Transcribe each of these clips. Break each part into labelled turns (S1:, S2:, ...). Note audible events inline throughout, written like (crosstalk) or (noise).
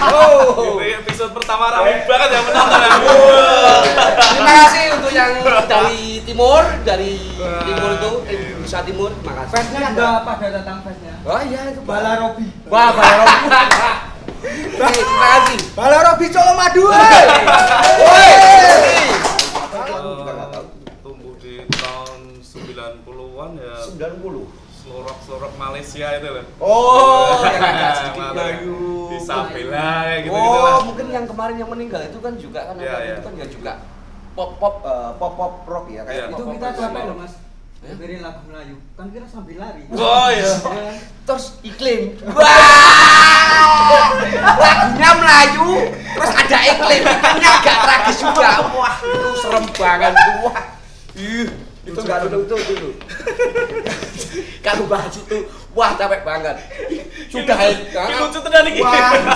S1: Gitu ya, episode pertama ramai banget yang menonton ya.
S2: Terima kasih untuk yang dari timur, dari
S1: Wah,
S2: timur itu, eh,
S1: iya.
S2: Nusa Timur, makasih.
S3: Festnya udah pada datang festnya.
S2: Oh iya, itu
S3: Bala Robi.
S2: Wah, Balarobi. Oke, (laughs) terima kasih.
S3: Bala Robi Colo Madu.
S2: Woi.
S1: Tumbuh di tahun 90-an ya
S4: 90.
S1: selorok-selorok Malaysia itu loh.
S2: Oh,
S1: (laughs)
S2: yang agak sedikit
S1: Malah,
S2: Melayu.
S1: Di Sapila kayak gitu gitu
S2: Oh,
S1: lah.
S2: mungkin yang kemarin yang meninggal itu kan juga kan
S1: Iya,
S2: ada
S1: iya.
S2: itu kan ya juga.
S4: Pop pop eh, pop pop rock ya
S1: Iya.
S4: kayak
S3: Itu
S4: pop-pop
S3: kita
S4: rock.
S3: capek loh, Mas.
S2: Eh?
S3: Dengerin lagu Melayu. Kan kita sambil lari.
S1: Oh iya.
S2: Terus iklim. Wah! Lagunya Melayu, terus ada iklim. Iklimnya agak tragis juga. Wah, itu serem banget Wah. Ih,
S4: Itu enggak dulu itu dulu.
S2: kalau bahas itu wah capek banget. Sudah
S1: Ini
S2: ya.
S1: lucu tuh dari gini.
S2: Wah.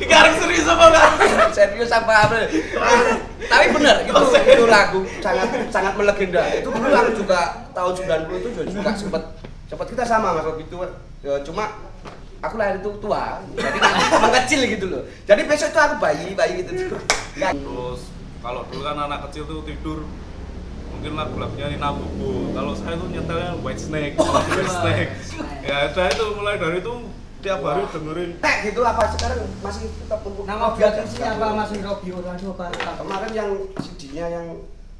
S1: Ini harus serius apa enggak?
S2: (laughs) serius apa apa Ah, tapi benar itu
S1: Oh,
S2: itu lagu sangat sangat melegenda itu dulu lagu juga tahun 90 itu juga, juga sempat sempat kita sama mas waktu itu Ya, cuma aku lahir itu tua jadi mengecil gitu loh jadi besok itu aku bayi bayi gitu Nggak.
S1: Terus kalau dulu kan anak kecil tuh tidur mungkin lagu-lagunya Nina Bobo. Kalau saya tuh nyetelnya White Snake, White Snake. Ya udah itu mulai dari itu tiap hari dengerin.
S2: tek gitu apa sekarang masih tetap untuk
S3: Nama biasanya apa Mas Robi orang tua Pak.
S4: Kemarin yang CD-nya yang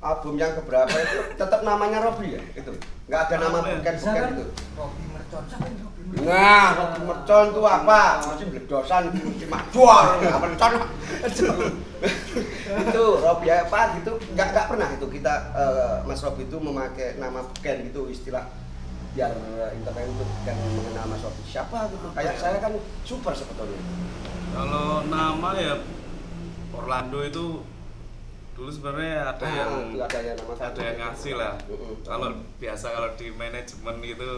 S4: album yang keberapa itu tetap namanya Robby ya
S2: gitu.
S4: itu. Enggak ada nama
S1: Apa ya?
S4: bukan
S3: Bisa
S4: bukan
S3: kan?
S4: itu.
S3: Robi mercon. Siapa yang Robi mercon?
S4: Nah, Robby mercon itu apa? Masih bledosan cuma jual enggak mercon. itu Robby apa gitu enggak enggak pernah itu kita eh, Mas Robby itu memakai nama band gitu istilah biar internet itu kan mengenal Mas Robby siapa gitu kayak saya kan super sebetulnya
S1: Kalau nama ya Orlando itu dulu sebenarnya ada
S4: Ah,
S1: yang
S4: itu ada yang nama satu.
S1: ada yang ngasih lah.
S4: Mm-mm.
S1: Kalau biasa kalau di manajemen itu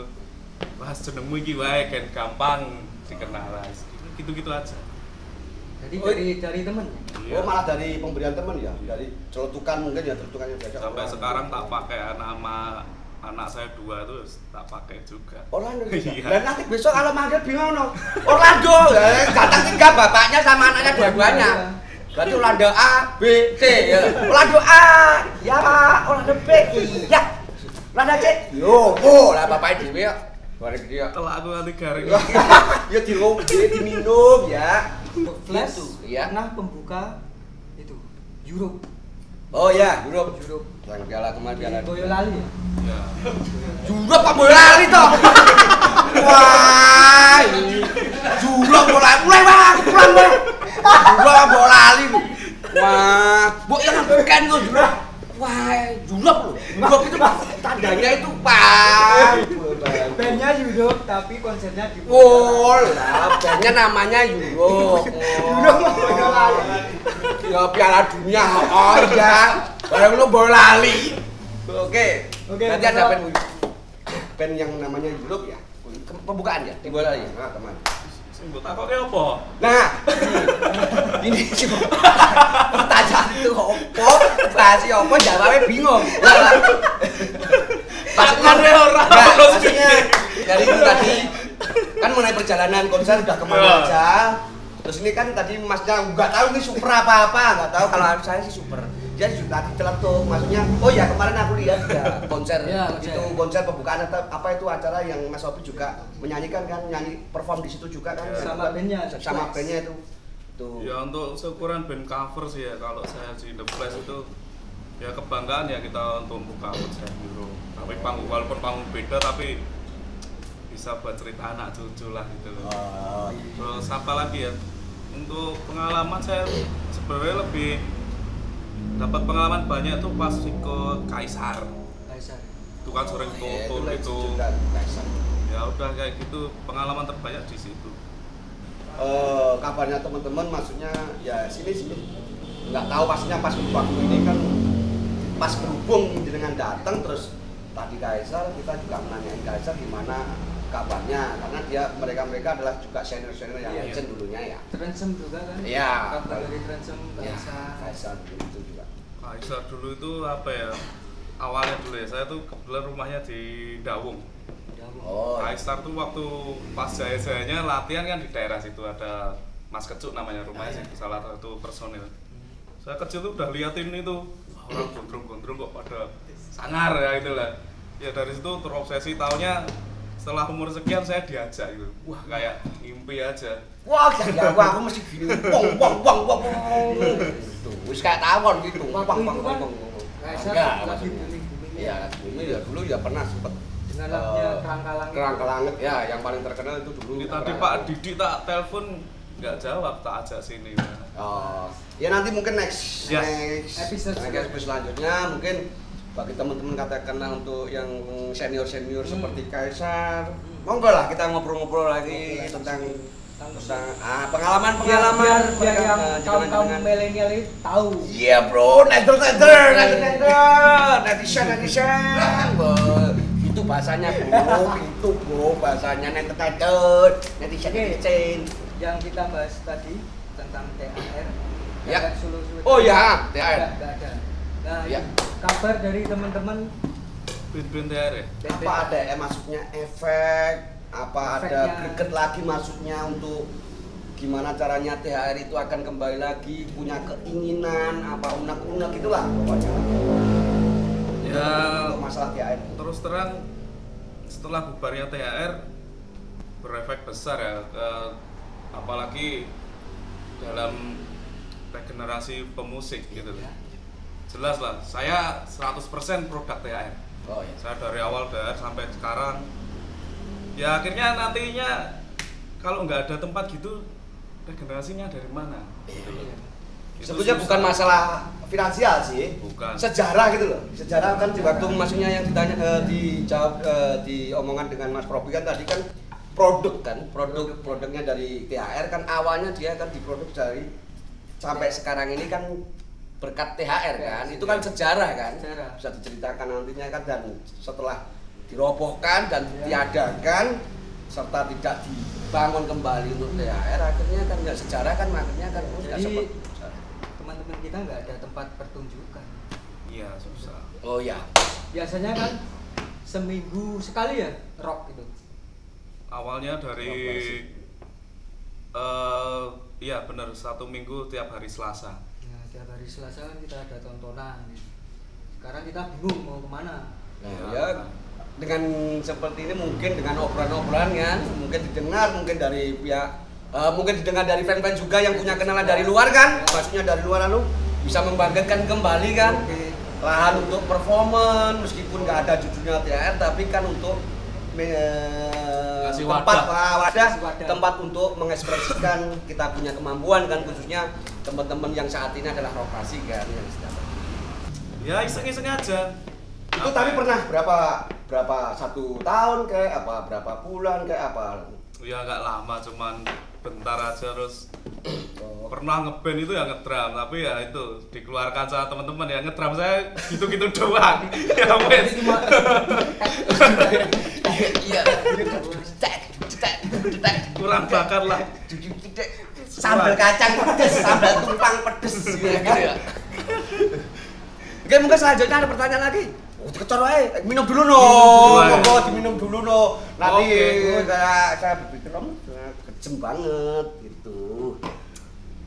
S1: bahas jenengmu iki wae kan gampang dikenal lah." gitu-gitu aja.
S3: Jadi dari dari temen.
S1: Iya.
S4: Oh malah dari pemberian teman ya, dari celutukan mungkin ya celutukannya biasa.
S1: Iya. Sampai
S4: Orang-
S1: sekarang tak pakai nama anak saya dua tuh tak pakai juga. (laughs)
S4: Orlando
S1: Iya.
S4: iya. Dan nanti besok kalau manggil bingung no.
S2: Orlando Eh, datang tiga bapaknya sama anaknya dua-duanya berarti Orlando A B C ya. Orlando A ya Pak Orlando B iya Orlando C yo oh lah bapaknya dewe ya (laughs) bareng dia
S1: Telah aku nanti garing.
S4: ya diminum, ya diminum ya.
S3: Flash.
S2: Itu, ya.
S3: Nah, pembuka itu Europe.
S4: Oh ya, Europe.
S3: Europe.
S4: Yang piala kemarin piala.
S3: Boyolali ya.
S1: Ya.
S2: Jurok Pak bola lari toh (laughs) wah ini. Jurok bola mulai Pak pulang Pak Jurok Pak bola lari wah bu yang bukan tuh jurok wah jurok loh jurok itu tandanya itu Pak
S3: Bandnya Europe tapi konsernya di Boyolali.
S2: Wol, lah, bandnya namanya Euro.
S3: Euro mau Boyolali.
S2: Ya Piala Dunia. Oh iya. Barang lu baru lali. Oke.
S3: Oke,
S2: Nanti
S3: Mas
S2: ada
S3: Rob.
S2: band
S4: Pen yang namanya Europe ya.
S2: ke- pembukaan ya di bola ya.
S4: Nah, teman.
S1: Sing mbok takoke apa?
S2: Nah. Ini sih. Pertanyaan itu opo? Bahasa opo jawabnya bingung.
S1: Takon ya ora.
S2: Nah, maksudnya dari itu tadi kan mengenai perjalanan konser udah kemana
S1: Iya.
S2: aja terus ini kan tadi masnya nggak tahu ini super apa apa nggak tahu kalau saya sih super dia juga tadi tuh maksudnya oh ya kemarin aku lihat ya konser
S3: Iya, konser.
S2: itu konser pembukaan atau apa itu acara yang Mas Opi juga menyanyikan kan nyanyi perform di situ juga kan
S1: Iya.
S3: Sama bandnya.
S2: sama bandnya itu tuh
S1: Ya untuk seukuran band cover sih ya kalau saya di The Flash itu ya kebanggaan ya kita untuk buka konser Euro. Tapi panggung walaupun panggung beda tapi bisa buat cerita anak cucu lah gitu loh.
S4: Oh,
S1: Terus apa lagi ya? Untuk pengalaman saya sebenarnya lebih dapat pengalaman banyak tuh pas ikut Kaisar.
S3: Kaisar.
S1: Itu kan
S2: Oh,
S1: sering
S2: iya,
S4: ya,
S1: tutur
S4: itulah
S1: gitu.
S4: sejuta Kaisar.
S1: Ya udah kayak gitu pengalaman terbanyak di situ.
S4: Eh, kabarnya teman-teman maksudnya ya sini sini nggak tahu pastinya pas waktu ini kan
S2: Ya.
S4: pas berhubung dengan datang terus tadi Kaisar kita juga menanyain Kaisar gimana kabarnya karena dia mereka mereka adalah juga senior senior yang
S1: Iya.
S4: legend dulunya ya
S3: Transem juga kan?
S4: Iya.
S3: Kabar dari Transem
S4: ya
S2: Iya.
S3: Kaisar.
S4: Kaisar
S2: gitu
S4: itu juga
S1: Kaisar dulu itu apa ya? Awalnya dulu ya, saya tuh kebetulan rumahnya di Dawung.
S3: Ya, Bu.
S4: oh
S1: Kaisar tuh waktu pas jaya-jayanya latihan kan di daerah situ ada Mas Kecuk namanya rumahnya sih salah satu personil. Saya kecil tuh udah liatin itu wah, orang gondrong-gondrong kok pada sangar ya itulah. Ya dari situ terobsesi taunya setelah umur sekian saya diajak gitu. Wah kayak mimpi aja.
S2: Wah, ya aku aku mesti gini. Wong wong wong wong wong. Gitu. Wis kayak tawon gitu. Wong wong wong wong. wong.
S3: Kaisar
S2: Enggak,
S3: lagi
S2: maksudnya.
S3: booming-booming
S2: Iya, ini ya dulu ya pernah sempat
S3: Dengan lagunya Kerangka Langit.
S2: Kerangka Langit ya, yang paling terkenal itu dulu.
S1: Ini tadi
S2: Kerangka
S1: Pak
S2: Langit.
S1: Didi tak telepon nggak jawab tak ajak sini.
S2: Oh, ya nanti mungkin next
S1: Yes.
S2: next
S3: Episode
S2: next
S3: selanjutnya.
S2: episode selanjutnya mungkin bagi teman-teman katakanlah untuk yang senior senior
S3: Hmm.
S2: seperti Kaisar, monggo lah kita ngobrol-ngobrol lagi
S3: Ngobrol lagi.
S2: tentang
S3: Tentang-
S2: tentang ah, pengalaman-pengalaman
S3: Pengalaman biar yang
S2: mereka, eh,
S3: kaum kaum
S2: jenengan-
S3: milenial ini tahu.
S2: Iya bro, nether nether, nether nether, netizen netizen, Bro, itu bahasanya bro, itu bro bahasanya nether nether, netizen
S3: Oke.
S2: netizen.
S3: Yang kita bahas tadi tentang THR.
S2: Ya.
S3: ada solusi-
S2: Oh ya,
S3: Nggak-
S2: THR.
S3: nggak ada. Nah,
S2: Ya.
S3: itu kabar dari teman-teman
S1: Bin-bin TR ya.
S3: PT.
S2: Apa ada eh, maksudnya efek? Apa ada
S3: Efeknya.
S2: greget lagi maksudnya untuk gimana caranya THR itu akan kembali lagi punya keinginan apa unek-unek itulah pokoknya
S1: Ya.
S2: untuk masalah THR.
S1: terus terang setelah bubarnya THR berefek besar ya ke- apalagi dalam regenerasi pemusik gitu
S2: Iya.
S1: jelas lah saya 100% produk THR
S2: Oh ya.
S1: saya dari awal THR sampai sekarang ya akhirnya nantinya kalau nggak ada tempat gitu regenerasinya dari mana
S2: Iya,
S1: gitu loh. Itu
S2: Sebetulnya
S1: susah.
S2: bukan masalah finansial sih.
S1: Bukan.
S2: Sejarah gitu loh. Sejarah kan di waktu maksudnya yang ditanya eh, dijawab eh, diomongan dengan Mas Probi kan tadi kan produk kan, produk produknya dari THR kan awalnya dia kan diproduk dari sampai sekarang ini kan berkat THR kan. Itu kan sejarah kan.
S3: Iya, Sejarah.
S2: Bisa diceritakan nantinya kan dan setelah dirobohkan dan
S3: Iya.
S2: diadakan serta tidak dibangun kembali untuk THR akhirnya kan nggak sejarah kan akhirnya kan oh, nggak
S3: Jadi-
S2: sempat-
S3: teman-teman kita nggak ada tempat pertunjukan.
S1: iya susah
S2: Oh ya,
S3: Biasanya kan seminggu sekali ya rock gitu.
S1: awalnya
S2: Apa
S1: dari
S2: sih?
S1: eh iya benar satu minggu tiap hari Selasa
S3: Nah, tiap hari Selasa kan kita ada tontonan. gitu. Sekarang kita bingung mau kemana.
S2: Nah, ya dengan seperti ini mungkin dengan obrolan-obrolan kan mungkin didengar mungkin dari pihak eh, mungkin didengar dari fan-fan juga yang punya kenalan dari luar kan maksudnya dari luar lalu bisa membangkitkan kembali kan
S3: Oke.
S2: lahan untuk performan meskipun nggak ada judulnya THR tapi kan untuk me-
S1: Kasih
S2: tempat
S1: wadah.
S2: ah, wadah,
S3: Kasih wadah.
S2: tempat untuk mengekspresikan kita punya kemampuan kan khususnya teman-teman yang saat ini adalah rotasi kan yang sedang
S1: ya iseng-iseng aja
S2: itu
S1: Apa
S2: tapi
S1: ya?
S2: pernah berapa berapa satu tahun kayak apa berapa bulan kayak apa
S1: ya nggak lama cuman bentar aja terus
S2: Oh.
S1: pernah ngeband itu ya ngedram tapi ya itu dikeluarkan sama teman-teman ya ngedram saya gitu-gitu (laughs) doang ya wes
S2: iya cetek cetek cetek
S1: kurang bakar lah
S2: cetek sambal kacang pedes sambal tumpang pedes gitu ya oke mungkin selanjutnya ada pertanyaan lagi Oh, dikecor aja. Minum dulu no.
S1: Minum dulu,
S2: Monggo diminum dulu no. Nanti
S1: Oke.
S2: saya saya berpikir om kejem banget gitu.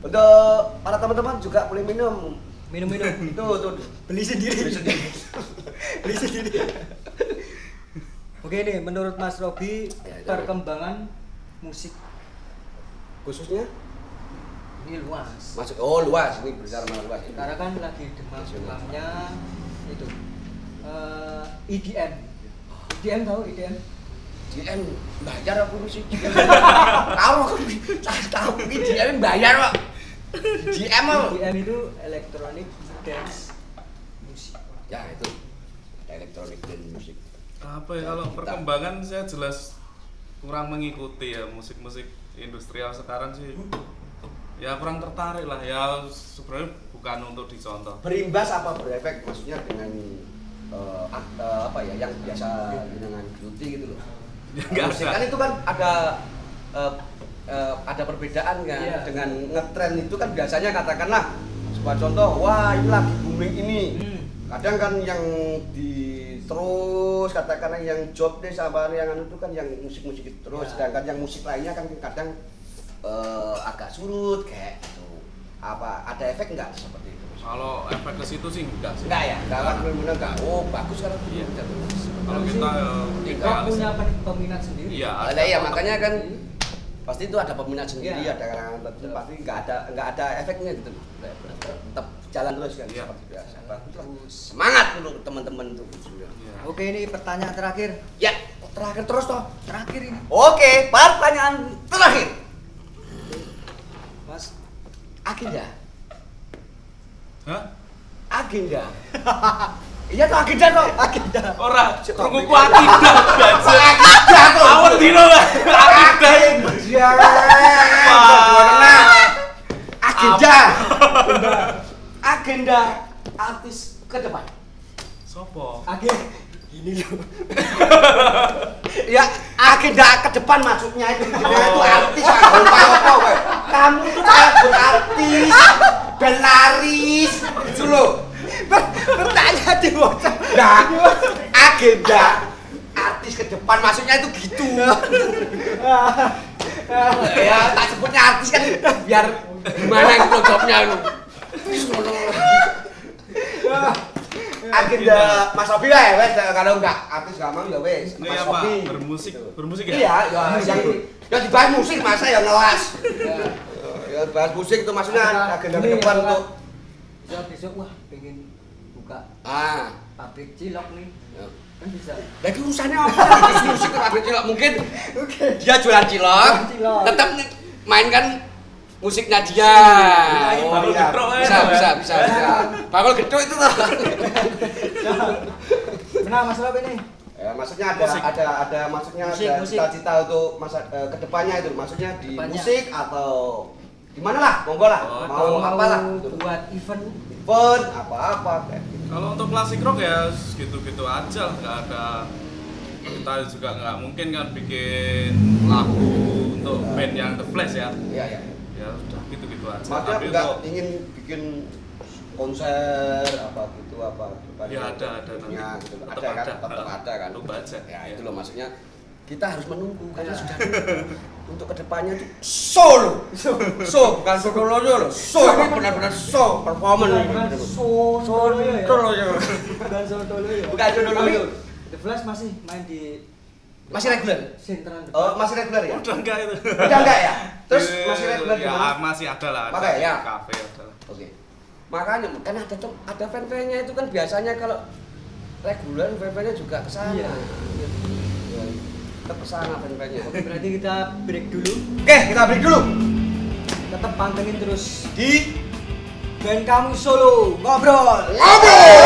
S2: Untuk para teman-teman juga boleh minum.
S3: (laughs) Minum-minum.
S2: Itu tuh
S3: Beli sendiri. Beli sendiri. Beli sendiri. Oke nih, menurut Mas Robi,
S2: Ya, ya.
S3: perkembangan musik
S2: khususnya
S3: ini luas.
S2: masuk oh luas ini besar malah luas ini.
S3: Sekarang kan lagi demam-demamnya itu eh, EDM. EDM E tahu EDM?
S2: JN bayar aku sih tahu aku tahu ini JN bayar pak JM apa
S3: EDM E itu electronic dance music.
S2: ya itu elektronik dan musik
S1: apa ya kalau perkembangan saya jelas kurang mengikuti ya musik-musik industrial sekarang sih ya kurang tertarik lah ya sebenarnya bukan untuk dicontoh
S2: berimbas apa berefek maksudnya dengan eh, ak- eh, apa ya yang biasa dengan beauty gitu loh
S1: Ya, nggak
S2: Musik
S1: ada.
S2: kan itu kan ada eh, eh, ada perbedaan kan
S3: Iya.
S2: dengan ngetren itu kan biasanya katakanlah sebuah contoh wah ini lagi booming ini
S3: Hmm.
S2: kadang kan yang di terus katakanlah yang job deh sama yang anu itu kan yang musik-musik itu terus
S3: Ya.
S2: sedangkan yang musik lainnya kan kadang eh, agak surut kayak gitu. Apa ada efek nggak seperti itu?
S1: Kalau efek ke situ sih enggak sih.
S2: Enggak ya, enggak kan benar enggak. Oh, bagus kalau
S1: Iya.
S2: gitu.
S1: Kalau
S3: Tapi
S1: kita
S3: sih,
S1: eh,
S3: Kita
S1: idealis
S3: punya
S1: ya.
S3: pen- peminat sendiri.
S1: Iya,
S2: Nah,
S1: ada.
S2: iya makanya kan pasti itu ada peminat sendiri,
S3: Iya.
S2: ada kalangan tertentu pasti nggak ada nggak ada efeknya gitu. Tetap jalan terus kan
S1: Iya.
S2: seperti biasa. Bagus lah.
S3: Terus.
S2: Semangat dulu teman-teman tuh.
S1: Iya.
S3: Oke, ini pertanyaan terakhir.
S2: Ya, terakhir terus toh.
S3: Terakhir ini.
S2: Oke, pertanyaan terakhir.
S3: Mas,
S2: Agenda.
S1: Hah?
S2: Agenda. iya toh agenda toh. Agenda.
S1: Ora, tunggu ku akidah gajah. Awet dino lah. Akidah.
S2: Iya. Agenda. Agenda artis ke depan.
S1: Sopo?
S3: akhir ini loh.
S2: Ya, agenda ke depan maksudnya itu. Dia itu artis Pak. Lupa apa kowe. Kamu tuh takut artis, belaris, gitu loh.
S3: Bertanya di bocah.
S2: Nah, agenda artis ke depan maksudnya itu gitu. ya, tak sebutnya artis kan biar gimana gitu jawabnya lu. agenda Mas Sofi lah ya wes kalau enggak artis gampang ya wes
S1: Ini
S2: Mas
S1: apa?
S2: Sofi.
S1: Bermusik. Bermusik ya?
S2: Iya, ya yang ya dibahas musik masa ya ngelas. Ya bahas musik
S3: Nah,
S2: itu maksudnya agenda ke depan untuk
S3: Besok besok wah pengen buka
S2: ah
S3: pabrik cilok nih.
S2: Iya.
S3: Kan bisa.
S2: Lagi urusannya apa? Terus musik ke pabrik cilok mungkin dia jualan cilok,
S3: Jualan cilok.
S2: tetap mainkan musiknya dia.
S1: Iya,
S2: Oh,
S1: bakul
S2: iya.
S1: gedruk aja,
S2: bisa,
S1: Pak, ya.
S2: bisa, bisa, bisa. Bakul gedruk itu tuh.
S3: Nah, Mas Rob ini.
S2: Ya, maksudnya ada
S1: Musik.
S2: ada ada maksudnya
S3: Musik,
S2: ada
S3: musik.
S2: cita-cita untuk masa eh, kedepannya itu maksudnya di
S3: Kedepannya.
S2: musik atau di mana lah monggo lah
S1: Oh,
S2: mau, apa lah gitu.
S3: buat event
S2: event apa-apa kayak gitu.
S1: Kalau untuk klasik rock ya gitu-gitu aja, nggak ada kita juga nggak mungkin kan bikin lagu untuk band yang The Flash ya.
S2: Iya ya.
S1: Ya udah gitu-gitu aja.
S2: Maksudnya
S1: Tapi
S2: nggak
S1: untuk (laughs)
S2: ingin bikin konser apa gitu apa gitu kan.
S1: ya ada ada nanti.
S2: Ya, gitu. Ada kan tetap ada kan.
S1: Tetap aja.
S2: Ya
S1: Ya.
S2: itu loh maksudnya kita harus menunggu karena sudah untuk kedepannya itu solo so bukan solo solo so ini benar-benar so performance
S3: Bukan Solo ya.
S2: Solo, ya.
S3: Bukan Solo ya.
S2: Bukan Solo,
S3: Tapi,
S2: ya.
S3: The Flash masih main di
S2: masih reguler
S3: Sintran The
S2: oh
S3: Flash.
S2: masih reguler ya iya.
S1: Udah enggak itu.
S2: udah enggak ya terus
S1: Eh,
S2: masih reguler di
S1: ya,
S2: mana
S1: masih ada lah. ada
S2: Makanya, ya.
S1: Kafe ada lah.
S2: Oke. Makanya kan ada tuh ada fan-fannya itu kan biasanya kalau reguler fan-fannya juga ke sana.
S3: Iya.
S2: Iya. Tetap ke sana fan-fannya.
S3: Oke, berarti kita break dulu.
S2: Oke, kita break dulu.
S3: Tetap pantengin terus
S2: Di
S3: band kamu Solo. Ngobrol.
S2: ngobrol.